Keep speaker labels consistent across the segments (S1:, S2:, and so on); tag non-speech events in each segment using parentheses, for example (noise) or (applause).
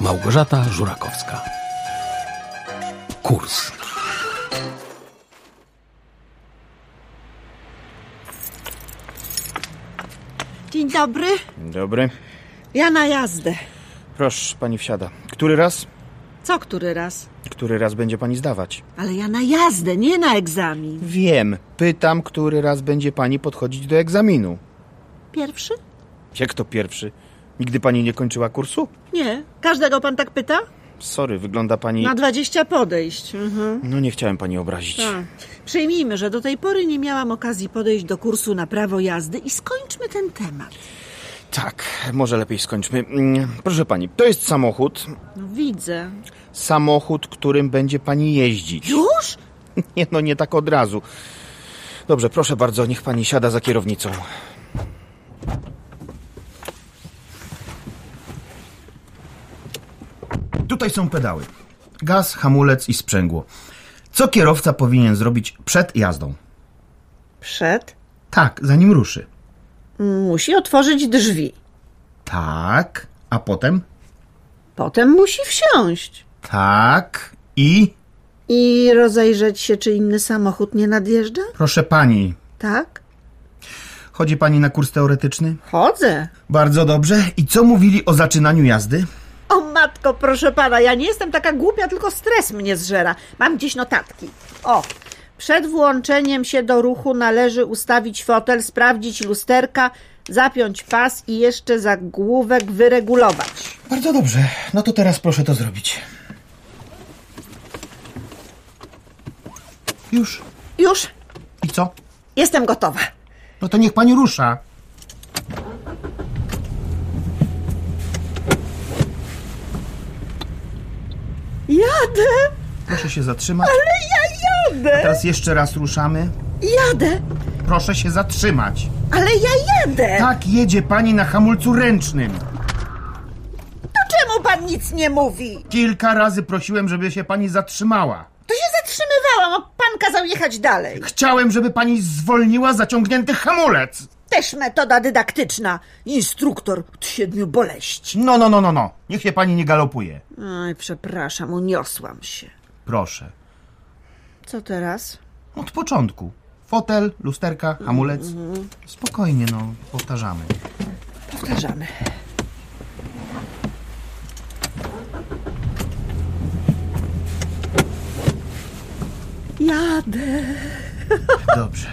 S1: Małgorzata Żurakowska. Kurs.
S2: Dzień dobry.
S3: Dobry.
S2: Ja na jazdę.
S3: Proszę, pani wsiada. Który raz?
S2: Co który raz?
S3: Który raz będzie pani zdawać?
S2: Ale ja na jazdę, nie na egzamin.
S3: Wiem. Pytam, który raz będzie pani podchodzić do egzaminu.
S2: Pierwszy?
S3: Jak to pierwszy? Nigdy pani nie kończyła kursu?
S2: Nie. Każdego pan tak pyta?
S3: Sorry, wygląda pani...
S2: Na 20 podejść. Mhm.
S3: No nie chciałem pani obrazić.
S2: Tak. Przyjmijmy, że do tej pory nie miałam okazji podejść do kursu na prawo jazdy i skończmy ten temat.
S3: Tak, może lepiej skończmy. Mm, Proszę pani, to jest samochód.
S2: No widzę.
S3: Samochód, którym będzie pani jeździć.
S2: Już?
S3: (laughs) Nie, no nie tak od razu. Dobrze, proszę bardzo, niech pani siada za kierownicą. Tutaj są pedały. Gaz, hamulec i sprzęgło. Co kierowca powinien zrobić przed jazdą?
S2: Przed?
S3: Tak, zanim ruszy.
S2: Musi otworzyć drzwi.
S3: Tak, a potem?
S2: Potem musi wsiąść.
S3: Tak i...
S2: I rozejrzeć się, czy inny samochód nie nadjeżdża?
S3: Proszę pani,
S2: Tak?
S3: chodzi pani na kurs teoretyczny?
S2: Chodzę.
S3: Bardzo dobrze. I co mówili o zaczynaniu jazdy?
S2: O matko, proszę pana, ja nie jestem taka głupia, tylko stres mnie zżera. Mam gdzieś notatki. O, przed włączeniem się do ruchu należy ustawić fotel, sprawdzić lusterka, zapiąć pas i jeszcze zagłówek wyregulować.
S3: Bardzo dobrze. No to teraz proszę to zrobić. Już.
S2: Już
S3: I co?
S2: jestem gotowa.
S3: No to niech pani rusza.
S2: Jadę,
S3: Proszę się zatrzymać.
S2: jadę,
S3: Teraz jeszcze raz ruszamy.
S2: jadę,
S3: Proszę się zatrzymać.
S2: ale ja jadę.
S3: Tak jedzie pani na hamulcu ręcznym.
S2: To No czemu pan nic nie mówi?
S3: Kilka razy prosiłem, żeby się pani zatrzymała.
S2: To się zatrzymywałam, a pan kazał jechać dalej.
S3: Chciałem, żeby pani zwolniła zaciągnięty hamulec.
S2: Też metoda dydaktyczna. Instruktor od siedmiu boleści.
S3: No, no, no, no, no. Niech się pani nie galopuje.
S2: Oj, przepraszam, uniosłam się.
S3: Proszę.
S2: Co teraz?
S3: Od początku. Fotel, lusterka, hamulec. Spokojnie, no, powtarzamy.
S2: Powtarzamy. Jadę,
S3: Dobrze.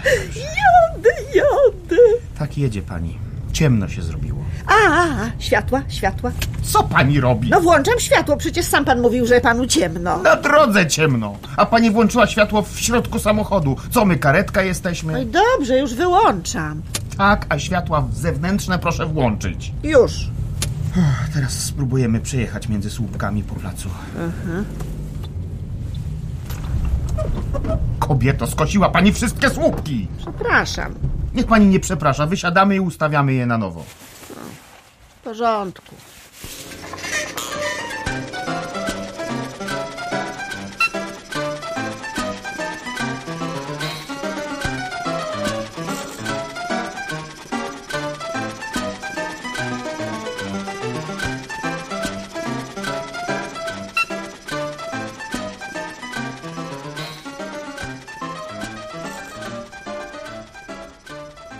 S2: jadę.
S3: Tak jedzie pani. Ciemno się zrobiło.
S2: A, a, a, światła, światła.
S3: Co pani robi?
S2: No włączam światło, przecież sam pan mówił, że panu ciemno.
S3: Na drodze ciemno. A pani włączyła światło w środku samochodu. Co my, karetka
S2: Oj,
S3: jesteśmy?
S2: No dobrze, już wyłączam.
S3: Tak, a światła zewnętrzne proszę włączyć.
S2: Już.
S3: Ach, Teraz spróbujemy przejechać między słupkami po placu.
S2: Mhm.
S3: Kobieto, skosiła pani wszystkie słupki.
S2: Przepraszam.
S3: Niech pani nie przeprasza. Wysiadamy i ustawiamy je na nowo.
S2: W porządku.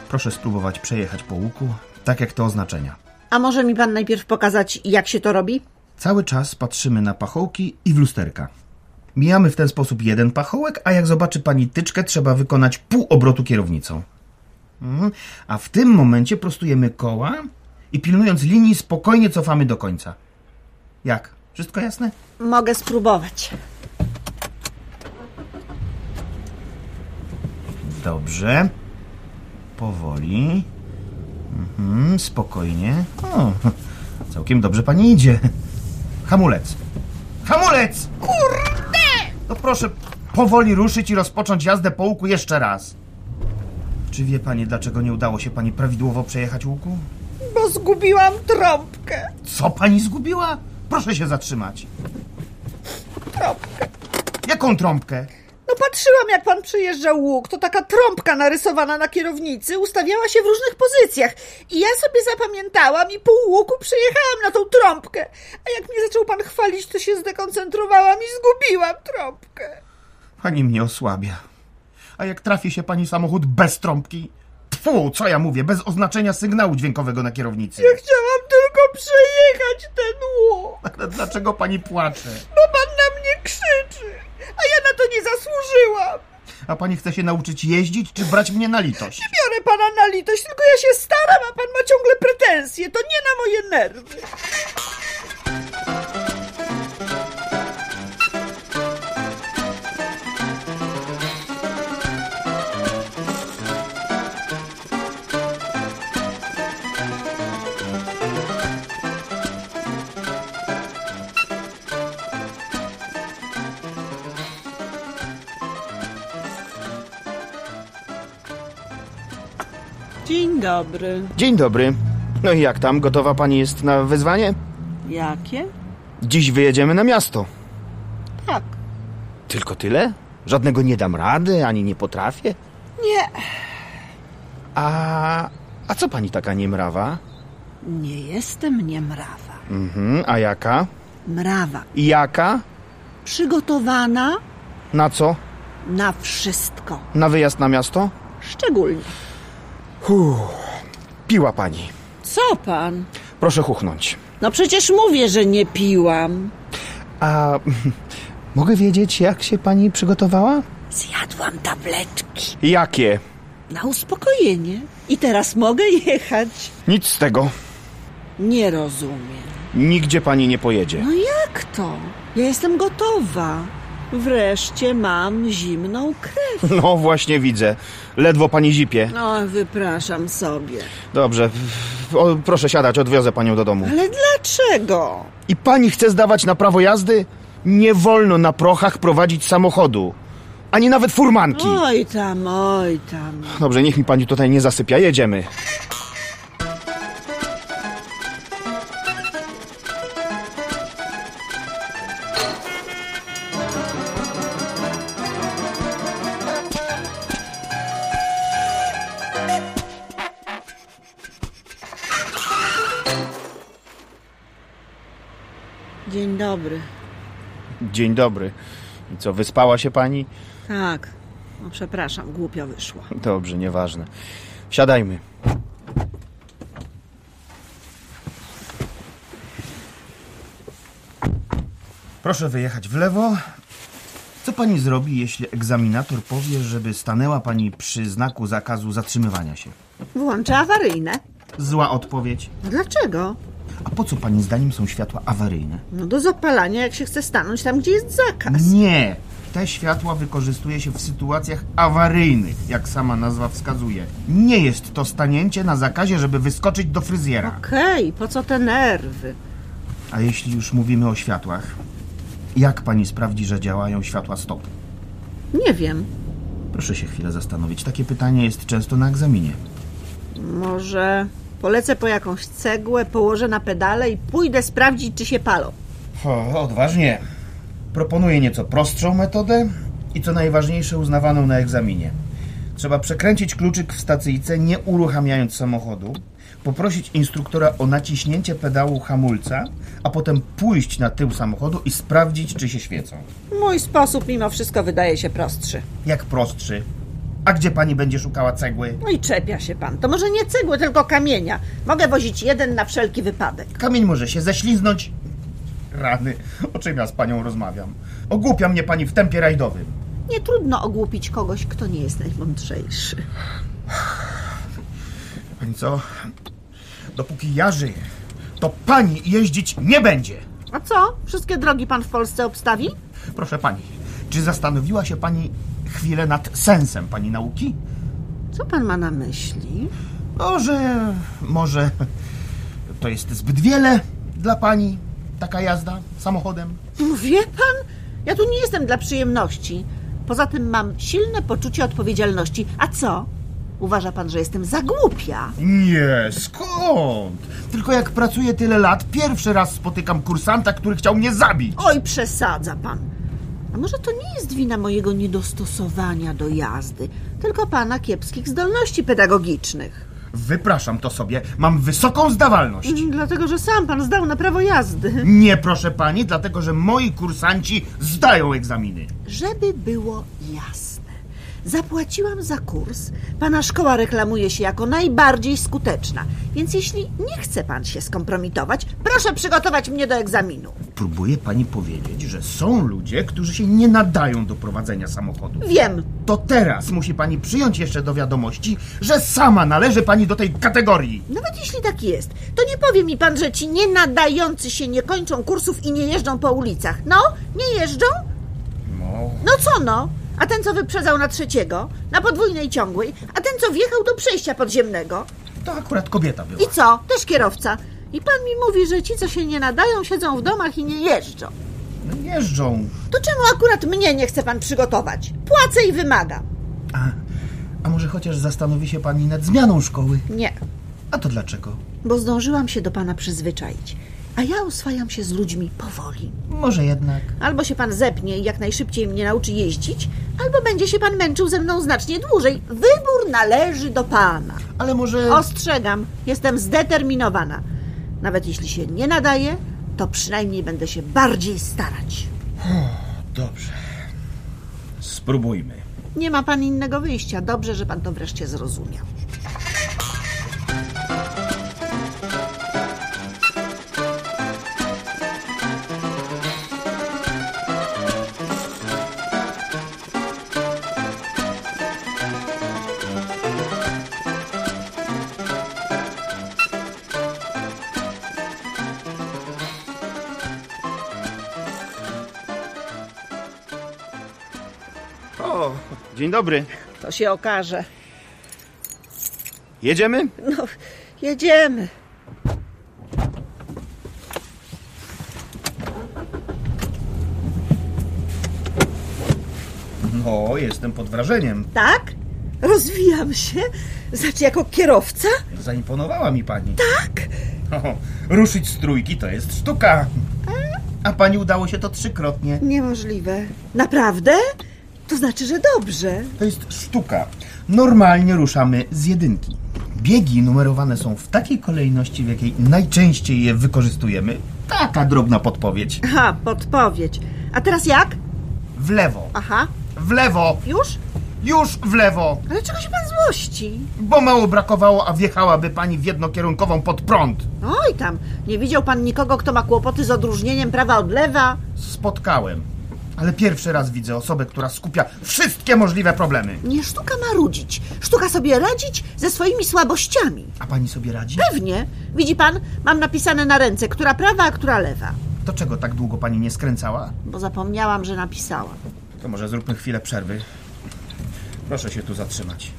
S3: Proszę spróbować przejechać po łuku, tak jak te oznaczenia.
S2: A może mi pan najpierw pokazać, jak się to robi?
S3: Cały czas patrzymy na pachołki i w lusterka. Mijamy w ten sposób jeden pachołek, a jak zobaczy pani tyczkę, trzeba wykonać pół obrotu kierownicą. Mhm. A w tym momencie prostujemy koła i pilnując linii spokojnie cofamy do końca. Jak? Wszystko jasne?
S2: Mogę spróbować.
S3: Dobrze. Powoli. Mhm, spokojnie. O, (laughs) całkiem dobrze pani idzie. Hamulec. Hamulec! Kurde! No proszę powoli ruszyć i rozpocząć jazdę po łuku jeszcze raz. Czy wie pani, dlaczego nie udało się pani prawidłowo przejechać łuku?
S2: Bo zgubiłam trąbkę.
S3: Co pani zgubiła? Proszę się zatrzymać.
S2: Trąbkę.
S3: Jaką trąbkę?
S2: No No patrzyłam, jak pan przejeżdżał łuk. To taka trąbka narysowana na kierownicy ustawiała się w różnych pozycjach. I ja sobie zapamiętałam i pół łuku przejechałam na tą trąbkę. A jak mnie zaczął pan chwalić, to się zdekoncentrowałam i zgubiłam trąbkę.
S3: Pani mnie osłabia. A jak trafi się pani samochód bez trąbki? Tfu, co ja mówię, bez oznaczenia sygnału dźwiękowego na kierownicy.
S2: Chciałam tylko przejechać ten łuk.
S3: Ale Tak, Dlaczego pani płacze?
S2: Bo pan na mnie krzyczy. A ja na to nie zasłużyłam.
S3: A pani chce się nauczyć jeździć, czy brać mnie na litość?
S2: Biorę pana na litość, tylko ja się staram, a pan ma ciągle pretensje. To nie na moje nerwy. Dzień dobry.
S3: Dzień dobry. No i jak tam? Gotowa pani jest na wyzwanie?
S2: Jakie?
S3: Dziś wyjedziemy na miasto.
S2: Tak.
S3: Tylko tyle? Żadnego nie dam rady, ani nie potrafię.
S2: Nie.
S3: A, a co pani taka niemrawa?
S2: Nie jestem niemrawa.
S3: Mhm, a jaka?
S2: Mrawa.
S3: Jaka?
S2: Przygotowana
S3: Na co?
S2: na wszystko.
S3: Na wyjazd na miasto?
S2: Szczególnie.
S3: Piła pani.
S2: Co pan?
S3: Proszę chuchnąć.
S2: No przecież mówię, że nie piłam.
S3: A mogę wiedzieć, jak się pani przygotowała?
S2: Zjadłam tabletki
S3: Jakie?
S2: na uspokojenie. I teraz mogę (laughs) jechać.
S3: Nic z tego.
S2: Nie rozumiem.
S3: Nigdzie pani nie pojedzie. (laughs)
S2: No jak to? Ja jestem gotowa. Wreszcie mam zimną krew.
S3: No właśnie widzę. Ledwo pani zipie.
S2: No, wypraszam sobie.
S3: Dobrze. O, proszę siadać, odwiozę panią do domu.
S2: Ale dlaczego?
S3: I pani chce zdawać na prawo jazdy? Nie wolno na prochach prowadzić samochodu. Ani nawet furmanki.
S2: Oj tam, oj tam.
S3: Dobrze, niech mi pani tutaj nie zasypia. Jedziemy.
S2: Dzień dobry.
S3: Dzień dobry. I co, wyspała się pani?
S2: Tak. No, przepraszam, głupio wyszło.
S3: Dobrze, nieważne. Siadajmy. Proszę wyjechać w lewo. Co pani zrobi, jeśli egzaminator powie, żeby stanęła pani przy znaku zakazu zatrzymywania się?
S2: Włączę awaryjne.
S3: Zła odpowiedź.
S2: No Dlaczego?
S3: A po co pani zdaniem są światła awaryjne?
S2: No do zapalania, jak się chce stanąć tam, gdzie jest zakaz.
S3: Nie! Te światła wykorzystuje się w sytuacjach awaryjnych, jak sama nazwa wskazuje. Nie jest to stanięcie na zakazie, żeby wyskoczyć do fryzjera.
S2: Okej, po co te nerwy?
S3: A jeśli już mówimy o światłach, jak pani sprawdzi, że działają światła stop?
S2: Nie wiem.
S3: Proszę się chwilę zastanowić. Takie pytanie jest często na egzaminie.
S2: Może polecę po jakąś cegłę, położę na pedale i pójdę sprawdzić, czy się palą.
S3: O, odważnie. Proponuję nieco prostszą metodę i co najważniejsze uznawaną na egzaminie. Trzeba przekręcić kluczyk w stacyjce, nie uruchamiając samochodu, poprosić instruktora o naciśnięcie pedału hamulca, a potem pójść na tył samochodu i sprawdzić, czy się świecą.
S2: Mój sposób mimo wszystko wydaje się prostszy.
S3: Jak prostszy. A gdzie pani będzie szukała cegły?
S2: No i czepia się pan. To może nie cegły, tylko kamienia. Mogę wozić jeden na wszelki wypadek.
S3: Kamień może się ześliznąć. Rany, o czym ja z panią rozmawiam? Ogłupia mnie pani w tempie rajdowym.
S2: Nie trudno ogłupić kogoś, kto nie jest najmądrzejszy.
S3: Pani co? Dopóki ja żyję, to pani jeździć nie będzie.
S2: A co? Wszystkie drogi pan w Polsce obstawi?
S3: Proszę pani, czy zastanowiła się pani chwilę nad sensem pani nauki?
S2: Co pan ma na myśli?
S3: No, że może to jest zbyt wiele dla pani taka jazda samochodem.
S2: No Wie pan, ja tu nie jestem dla przyjemności. Poza tym mam silne poczucie odpowiedzialności. A co? Uważa pan, że jestem za głupia?
S3: Nie, skąd? Tylko jak pracuję tyle lat, pierwszy raz spotykam kursanta, który chciał mnie zabić.
S2: Oj, przesadza pan. A może to nie jest wina mojego niedostosowania do jazdy, tylko pana kiepskich zdolności pedagogicznych?
S3: Wypraszam to sobie, mam wysoką zdawalność.
S2: Mm, Dlatego, że sam pan zdał na prawo jazdy.
S3: Nie, proszę pani, dlatego że moi kursanci zdają egzaminy.
S2: Żeby było jasne, zapłaciłam za kurs. Pana szkoła reklamuje się jako najbardziej skuteczna, więc jeśli nie chce pan się skompromitować, proszę przygotować mnie do egzaminu.
S3: Próbuje pani powiedzieć, że są ludzie, którzy się nie nadają do prowadzenia samochodu.
S2: Wiem,
S3: To teraz musi pani przyjąć jeszcze do wiadomości, że sama należy pani do tej kategorii.
S2: Nawet jeśli tak jest, to nie powie mi pan, że ci nienadający się nie kończą kursów i nie jeżdżą po ulicach. No, nie jeżdżą?
S3: No,
S2: No co no? A ten, co wyprzedzał na trzeciego, na podwójnej ciągłej, a ten, co wjechał do przejścia podziemnego.
S3: to akurat kobieta była.
S2: I co? Też kierowca. I pan mi mówi, że ci, co się nie nadają, siedzą w domach i nie jeżdżą.
S3: No, Jeżdżą.
S2: To czemu akurat mnie nie chce pan przygotować? Płacę i wymagam.
S3: A, a może chociaż zastanowi się pani nad zmianą szkoły?
S2: Nie,
S3: A to dlaczego?
S2: bo zdążyłam się do pana przyzwyczaić, a ja oswajam się z ludźmi powoli.
S3: Może jednak.
S2: Albo się pan zepnie i jak najszybciej mnie nauczy jeździć, albo będzie się pan męczył ze mną znacznie dłużej. Wybór należy do pana.
S3: Ale może.
S2: Ostrzegam, jestem zdeterminowana. Nawet jeśli się nie nadaje, to przynajmniej będę się bardziej starać.
S3: Dobrze. Spróbujmy.
S2: Nie ma pan innego wyjścia. Dobrze, że pan to wreszcie zrozumiał.
S1: O, dzień dobry.
S2: To się okaże.
S1: Jedziemy?
S2: No, jedziemy.
S3: No, jestem pod wrażeniem.
S2: Tak? Rozwijam się? Znaczy, jako kierowca?
S3: Zaimponowała mi pani. (laughs)
S2: Tak?
S3: O, ruszyć z trójki to jest sztuka. A pani udało się to trzykrotnie.
S2: Niemożliwe. Naprawdę? To znaczy, że dobrze.
S3: To jest sztuka. Normalnie ruszamy z jedynki. Biegi numerowane są w takiej kolejności, w jakiej najczęściej je wykorzystujemy. Taka drobna podpowiedź.
S2: Aha, podpowiedź. A teraz jak?
S3: W lewo,
S2: Aha,
S3: w lewo,
S2: już?
S3: już w lewo,
S2: Ale czego się pan złości?
S3: bo mało brakowało, a wjechałaby pani w jednokierunkową pod prąd.
S2: Oj tam, nie widział pan nikogo, kto ma kłopoty z odróżnieniem prawa od lewa?
S3: Spotkałem. Ale pierwszy raz widzę osobę, która skupia wszystkie możliwe problemy.
S2: Nie sztuka ma rudzić. Sztuka sobie radzić ze swoimi słabościami.
S3: A pani sobie radzi?
S2: Pewnie. Widzi pan, mam napisane na ręce, która prawa, a która lewa.
S3: To czego tak długo pani nie skręcała?
S2: Bo zapomniałam, że napisałam.
S3: To może zróbmy chwilę przerwy. Proszę się tu zatrzymać.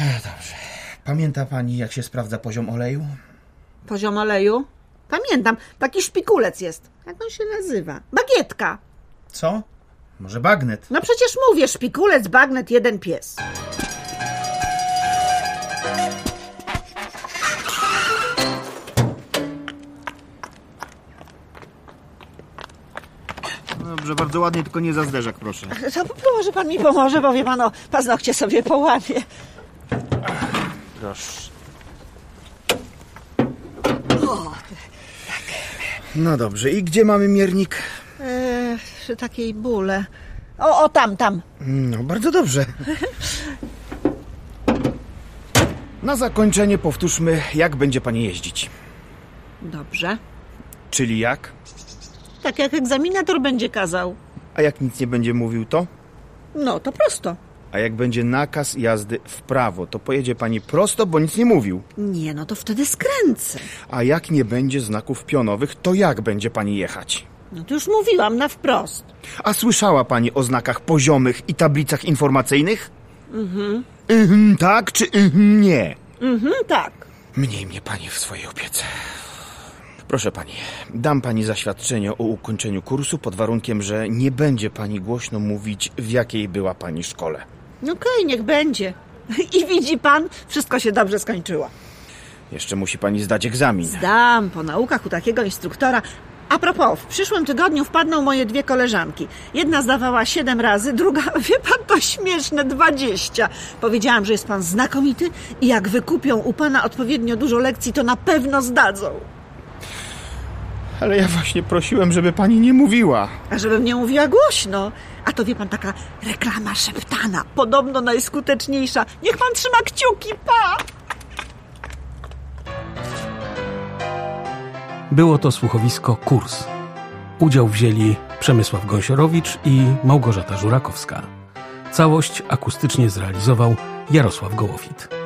S3: E, Dobrze. Pamięta pani, jak się sprawdza poziom oleju?
S2: Poziom oleju? Pamiętam, taki szpikulec jest. Jak on się nazywa? Bagietka.
S3: Co? Może bagnet?
S2: No przecież mówię, szpikulec, bagnet, jeden pies.
S1: Dobrze, bardzo ładnie, tylko nie za zderzak, proszę.
S2: To może pan mi pomoże, bo wie pan, o paznokcie sobie połamie.
S1: Proszę. No dobrze, i gdzie mamy miernik?
S2: Eee, przy takiej bóle. O, o, tam, tam.
S1: No, bardzo dobrze. Na zakończenie powtórzmy, jak będzie pani jeździć.
S2: Dobrze.
S1: Czyli jak?
S2: Tak jak egzaminator będzie kazał.
S1: A jak nic nie będzie mówił, to?
S2: No, to prosto.
S1: A jak będzie nakaz jazdy w prawo, to pojedzie pani prosto, bo nic nie mówił.
S2: Nie, no to wtedy skręcę.
S1: A jak nie będzie znaków pionowych, to jak będzie pani jechać?
S2: No to już mówiłam na wprost.
S1: A słyszała pani o znakach poziomych i tablicach informacyjnych? Mhm. Mhm, tak czy mhm, nie?
S2: Mhm, tak.
S1: Mniej mnie pani w swojej opiece. Proszę pani, dam pani zaświadczenie o ukończeniu kursu pod warunkiem, że nie będzie pani głośno mówić, w jakiej była pani szkole.
S2: No okej, niech będzie. (laughs) I widzi pan, wszystko się dobrze skończyło.
S1: Jeszcze musi pani zdać egzamin.
S2: Zdam po naukach u takiego instruktora, A propos, w przyszłym tygodniu wpadną moje dwie koleżanki. Jedna zdawała 7 razy, druga, (laughs) wie pan, to śmieszne 20. Powiedziałam, że jest pan znakomity i jak wykupią u pana odpowiednio dużo lekcji, to na pewno zdadzą.
S1: Ale ja właśnie prosiłem, żeby pani nie mówiła.
S2: A żebym nie mówiła głośno. A to wie pan, taka reklama szeptana, podobno najskuteczniejsza. Niech pan trzyma kciuki, pa!
S4: Było to słuchowisko Kurs. Udział wzięli Przemysław Gąsiorowicz i Małgorzata Żurakowska. Całość akustycznie zrealizował Jarosław Gołowit.